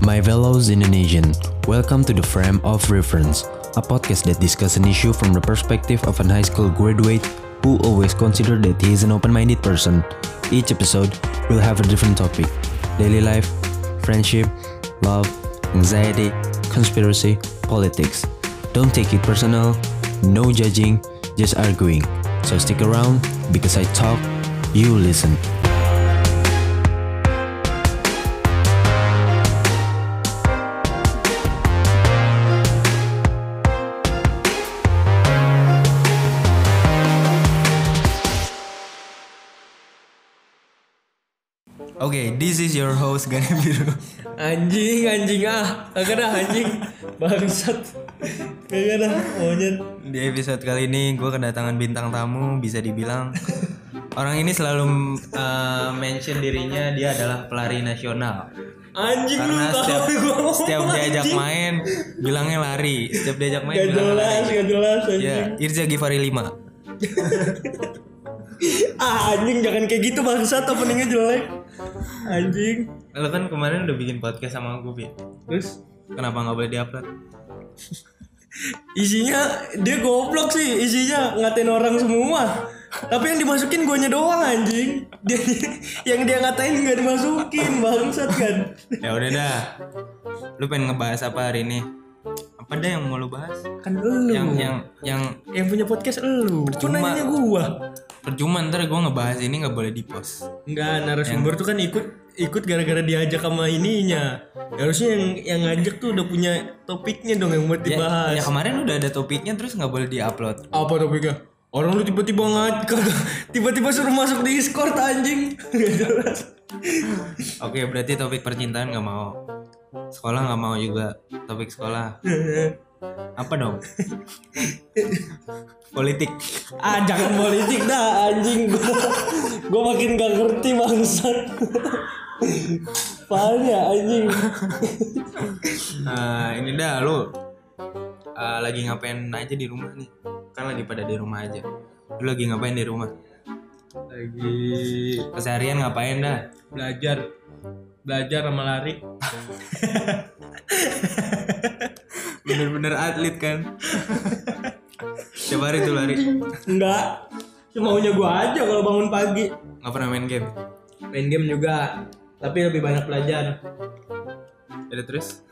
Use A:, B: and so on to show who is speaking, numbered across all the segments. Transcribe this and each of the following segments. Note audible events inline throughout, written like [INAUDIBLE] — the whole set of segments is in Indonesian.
A: My fellow Indonesian, welcome to the Frame of Reference, a podcast that discusses an issue from the perspective of an high school graduate who always considered that he is an open-minded person. Each episode will have a different topic: daily life, friendship, love, anxiety, conspiracy, politics. Don't take it personal, no judging, just arguing. So stick around because I talk, you listen.
B: Okay, this is your host Gane Biru.
C: [LAUGHS] Anjing, anjing ah, kagak dah anjing, bangsat, kagak Iya dah monyet.
B: Di episode kali ini gue kedatangan bintang tamu bisa dibilang orang ini selalu uh, mention dirinya dia adalah pelari nasional.
C: Anjing lu
B: Karena
C: tahu
B: setiap
C: gua ngomong
B: setiap diajak
C: anjing.
B: main bilangnya lari, setiap diajak main
C: Gak
B: bilangnya
C: jelas,
B: lari.
C: gak jelas anjing.
B: Ya, Irza Gifari 5.
C: Ah anjing jangan kayak gitu bangsat, openingnya jelek. Anjing,
B: Lo kan kemarin udah bikin podcast sama gue, Bi.
C: terus
B: Kenapa nggak boleh diupload?
C: isinya dia goblok sih, isinya ngatain orang semua. Tapi yang dimasukin guanya doang anjing. Dia yang dia ngatain gak dimasukin bangsat kan.
B: Ya udah dah. Lu pengen ngebahas apa hari ini? Apa dah yang mau lu bahas?
C: Kan elu.
B: Yang yang yang
C: yang punya podcast elu. Kok
B: Percuma.
C: nanya gua?
B: Percuma ntar gue ngebahas ini nggak boleh di post.
C: Enggak, narasumber tuh kan ikut ikut gara-gara diajak sama ininya. Ya, harusnya yang yang ngajak tuh udah punya topiknya dong yang buat dibahas.
B: Ya kemarin udah ada topiknya terus nggak boleh diupload.
C: Apa topiknya? Orang lu tiba-tiba ngajak, [LAUGHS] tiba-tiba suruh masuk di Discord anjing. Nggak jelas.
B: Oke berarti topik percintaan nggak mau. Sekolah nggak mau juga topik sekolah. Apa dong? Politik.
C: [LAUGHS] ah, jangan politik dah anjing [LAUGHS] gua. Gua makin gak ngerti bangsat. [LAUGHS] Parah ya, anjing.
B: Nah, ini dah lu eh, lagi ngapain aja di rumah nih? Kan lagi pada di rumah aja. Lu lagi ngapain di rumah?
C: Lagi
B: Keseharian ngapain dah?
C: belajar belajar sama lari.
B: Bener-bener atlet kan? Tiap hari tuh lari.
C: Enggak. Semaunya gua aja kalau bangun pagi.
B: Nggak pernah main game.
C: Main game juga, tapi lebih banyak belajar.
B: Ada terus?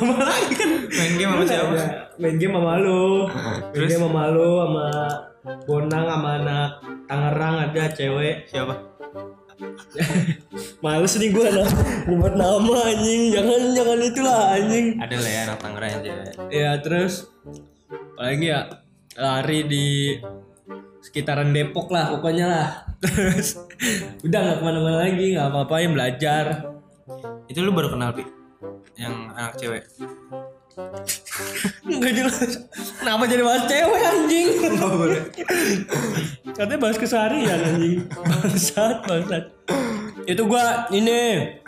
C: Apa lagi kan?
B: Main game sama siapa?
C: Ya, Main game sama lu. Main
B: Terus?
C: game sama lu sama Bonang sama anak Tangerang ada cewek.
B: Siapa?
C: Males nih gua nah. Buat nama anjing. Jangan jangan itulah anjing.
B: Ada lah ya anak Tangerang aja.
C: Ya terus apalagi ya lari di sekitaran Depok lah pokoknya lah. Terus udah nggak kemana-mana lagi nggak apa-apain belajar.
B: Itu lu baru kenal Pi? Yang anak cewek.
C: Nggak jelas. Kenapa jadi bahas cewek anjing?
B: boleh.
C: Katanya bahas keseharian anjing. Bangsat, bangsat. Itu gua ini.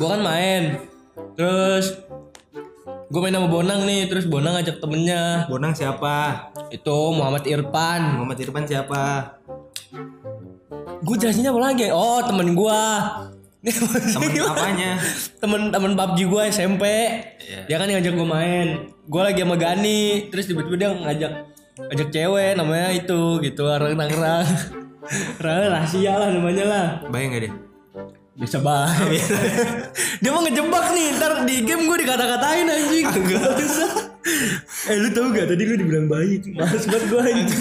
C: Gua kan main. Terus gua main sama Bonang nih, terus Bonang ngajak temennya
B: Bonang siapa?
C: Itu Muhammad Irfan
B: Muhammad Irfan siapa?
C: Gue jelasinnya apa lagi? Oh temen gua Ini [LAUGHS]
B: Temen apanya?
C: temen-temen PUBG gue SMP
B: Iya.
C: dia kan ngajak gue main gue lagi sama Gani terus tiba-tiba dia ngajak ngajak cewek namanya itu gitu orang Tangerang [LAUGHS] Rara rahasia lah namanya lah
B: Bayang gak deh?
C: bisa banget [LAUGHS] dia mau ngejebak nih ntar di game gue dikata-katain anjing [LAUGHS] eh lu tau gak tadi lu dibilang bayi males banget gue anjing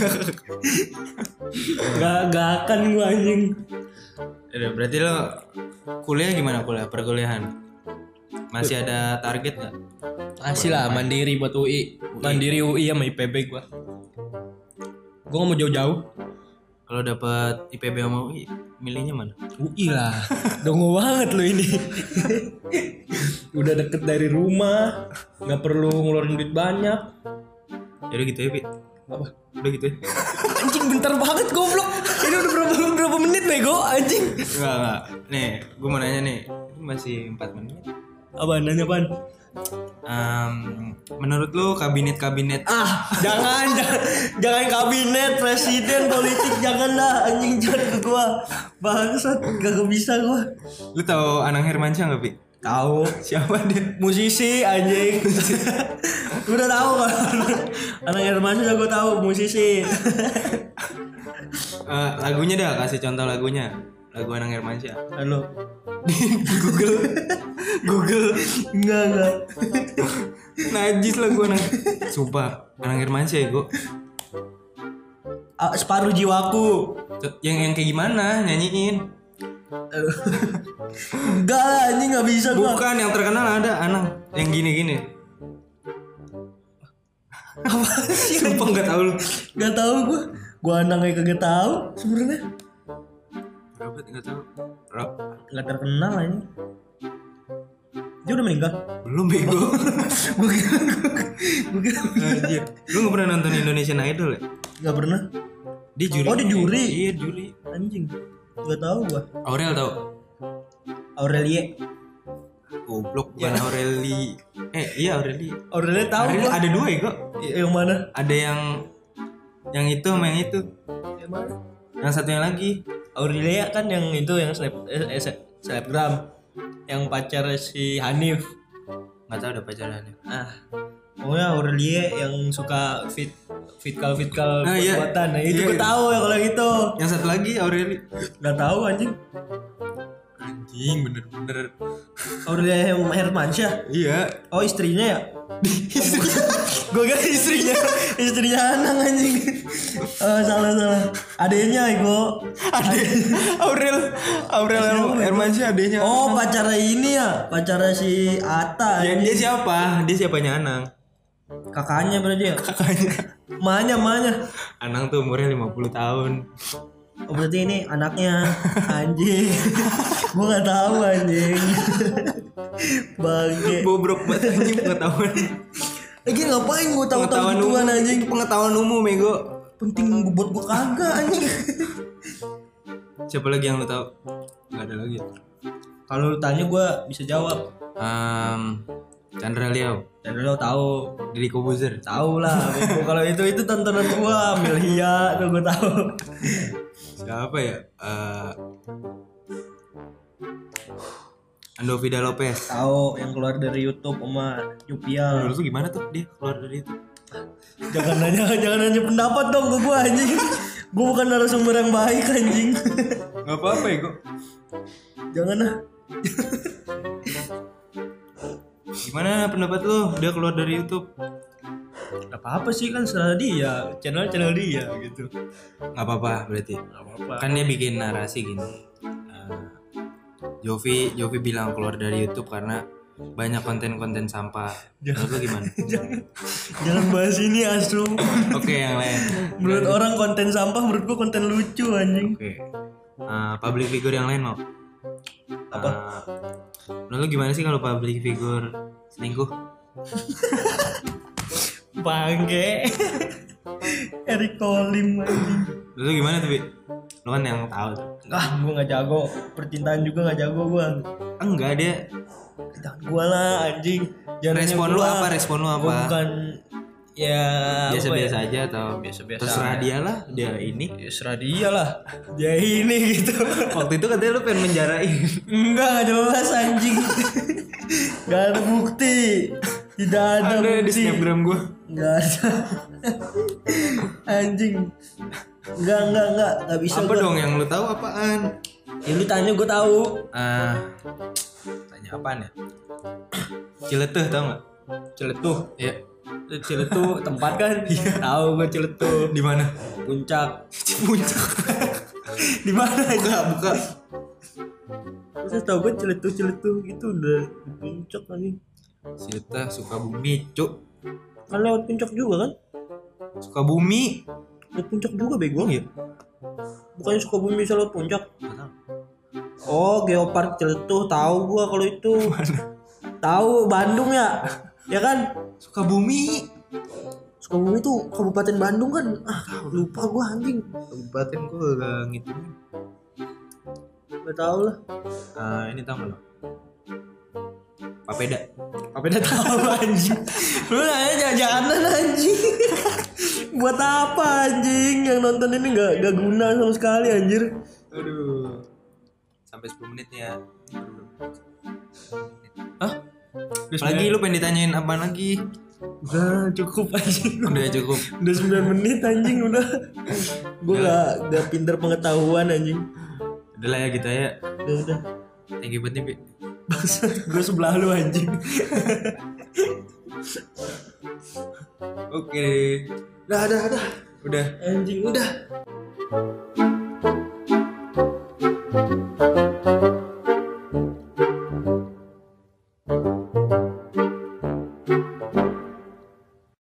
C: gak gak akan gue anjing
B: Aduh, Iya, berarti lo kuliah gimana kuliah? Perkuliahan? Masih ada target gak?
C: Masih lah mandiri buat UI. Mandiri UI sama IPB gua. Gua gak mau jauh-jauh.
B: Kalau dapat IPB sama UI, milihnya mana?
C: UI [LAUGHS] lah. Dongo banget lu [LAUGHS] ini. Udah deket dari rumah, nggak perlu ngeluarin duit banyak.
B: Jadi gitu ya, Pi?
C: Apa?
B: Udah gitu ya?
C: Anjing bentar banget goblok. Ini udah berapa berapa menit bego anjing.
B: Enggak, enggak. Nih, gue mau nanya nih. Ini Masih 4 menit.
C: Apaan nanya apaan?
B: Em, menurut lu kabinet-kabinet
C: Ah, jangan [LAUGHS] jangan, jangan kabinet presiden politik jangan lah anjing jangan ke gua. Bangsat, gak bisa gua.
B: Lu tau Anang Hermansyah gak, Pi? Tahu siapa dia?
C: musisi
B: [LAUGHS]
C: anjing Gua udah tahu kan anak Hermansyah udah gue tahu musisi
B: Eh, lagunya dah kasih contoh lagunya. Lagu Anang Hermansyah.
C: halo
B: Google. Google.
C: enggak enggak
B: Najis lagu Anang. Sumpah, Anang Hermansyah ya, Go.
C: Ah, separuh jiwaku
B: Yang yang kayak gimana nyanyiin?
C: enggak lah anjing nggak bisa gua
B: Bukan yang terkenal ada Anang yang gini-gini.
C: apa sih
B: Sumpah nggak tahu lu.
C: nggak tahu gua gua anaknya kagak tahu sebenarnya
B: Robert nggak tahu. Rob
C: nggak terkenal anjing dia udah
B: [LAUGHS]
C: meninggal
B: belum bego.
C: gue kira gue kira
B: Anjir. Lu nggak pernah nonton Indonesian Idol ya?
C: nggak pernah
B: Dia juri.
C: Oh, dia juri.
B: Iya juri.
C: anjing nggak tahu gua
B: Aurel tau?
C: Aurelie
B: Goblok bukan Aureli. Eh iya Aureli.
C: Aurelie tahu
B: Aureli
C: Oh, gua
B: ada dua ya kok.
C: yang mana
B: Ada yang yang itu sama yang itu.
C: yang mana
B: Yang satunya lagi.
C: Aurelia kan yang itu yang seleb, eh, eh, se- selebgram yang pacar si Hanif
B: Nggak tahu ada pacarannya.
C: ah pokoknya Aurelia yang suka fit fitkal fitkal
B: Ah, iya.
C: perbuatan nah, itu
B: Iya,
C: gue
B: iya.
C: tahu ya kalau gitu
B: Yang satu lagi Aureli.
C: nggak tahu anjing
B: Anjing bener-bener.
C: Aurelia Herm- Hermansyah
B: Iya.
C: oh istrinya ya gue kira istrinya [LAUGHS] istrinya Anang [LAUGHS] anjing Eh, salah salah adanya Ego
B: Ade Aurel Aurel Hermansyah adenya.
C: oh pacara ini ya pacara si Ata
B: Ya, dia siapa? Dia siapanya Anang?
C: kakaknya berarti ya
B: Kakaknya.
C: Manya, manya.
B: Anang tuh umurnya 50 tahun.
C: Oh, berarti ini anaknya anjing. gua nggak tahu anjing. Bangke.
B: Bobrok banget anjing [LAUGHS] pengetahuan.
C: Lagi ngapain gua tahu-tahu
B: Pengetahuan
C: gituan
B: umum.
C: anjing?
B: Itu pengetahuan umum Mego.
C: Penting buat gua kagak anjing.
B: Siapa lagi yang lu tahu? Gak ada lagi.
C: Kalau lu tanya gua bisa jawab.
B: Um, Chandra Liao,
C: Dan lo tahu,
B: Deddy Kobuzer.
C: tahu lah. Bego. Kalau itu itu tontonan gua, Milhia tuh gua tahu.
B: Siapa ya? Eh Andovida Lopez.
C: Tahu yang keluar dari YouTube sama Yupial.
B: Dulu tuh gimana tuh dia keluar dari itu?
C: Jangan nanya, jangan nanya pendapat dong ke gua anjing. Gua bukan narasumber yang baik anjing.
B: Gak apa-apa ya kok.
C: jangan ah.
B: Gimana pendapat lu? Dia keluar dari YouTube?
C: Gak apa-apa sih kan salah dia, channel-channel dia gitu.
B: Gak apa-apa berarti.
C: Gak apa-apa.
B: kan dia bikin narasi gini Eh, Jovi Jovi bilang keluar dari YouTube karena banyak konten-konten sampah menurut lu gimana
C: [LAUGHS] jangan, jangan bahas ini asu.
B: oke yang lain
C: Menurut orang konten sampah, menurut gua konten lucu anjing.
B: oke Eh, public figure yang lain mau apa menurut lu gimana sih kalau public figure selingkuh
C: Bangke. Eric Tolim anjing.
B: menurut lu gimana tuh Bi? lu kan yang tahu tuh
C: Ah, gua gak jago. Percintaan juga gak jago gua.
B: enggak dia
C: Jangan gua lah anjing. Jangan nanya
B: respon lu
C: gua.
B: apa respon lu
C: Gua
B: apa
C: bukan ya
B: biasa-biasa aja atau
C: Biasa-biasa
B: terserah dia lah dia ini
C: ya serah dia lah dia ini gitu
B: waktu itu katanya lu pengen menjarain
C: Enggak, nggak jelas anjing. Gak ada bukti. Tidak ada
B: ada di
C: bukti.
B: snapgram gua
C: Gak ada. anjing. Enggak, enggak, enggak. Gak bisa
B: apa
C: gua.
B: dong yang lu tahu apaan
C: Ya lu tanya gue tahu.
B: Ah, tanya apaan ya? Ciletuh tau nggak?
C: Celetuh.
B: Iya.
C: Celetuh tempat [LAUGHS] kan?
B: Nah,
C: tahu gue celetuh.
B: Di mana?
C: Puncak.
B: Puncak.
C: Di mana
B: buka,
C: aja?
B: buka.
C: Terus tau gue celetuh-celetuh gitu udah di puncak anjing.
B: Ciletuh Sukabumi, cuk.
C: Kan lewat puncak juga kan?
B: Sukabumi.
C: Lewat puncak juga bego.
B: Iya.
C: Bukannya Sukabumi bisa lewat puncak?
B: Nggak tahu.
C: Oh, Geopark Celetuh tahu gua kalau itu. Tahu Bandung ya? Ya kan?
B: Sukabumi.
C: Sukabumi itu Kabupaten Bandung kan? Ah, lupa gua anjing.
B: Kabupaten gua gak ngitungin.
C: Gak tahu lah.
B: Ah, ini tau nggak lo? Papeda.
C: Apa udah tahu anjing? Lu nanya jangan anjing. Buat apa anjing? Yang nonton ini nggak nggak guna sama sekali anjir.
B: Aduh. Sampai 10 menit nih ya.
C: Hah?
B: Lagi lu pengen ditanyain apa lagi?
C: Udah cukup anjing.
B: Udah cukup.
C: Udah 9 menit anjing udah. Gue gak, gak pinter pengetahuan anjing.
B: Udah lah ya gitu ya.
C: Udah udah.
B: Thank you banget nih, Pi.
C: Bangsat gue sebelah lu anjing.
B: Oke.
C: Udah udah udah.
B: Udah.
C: Anjing udah.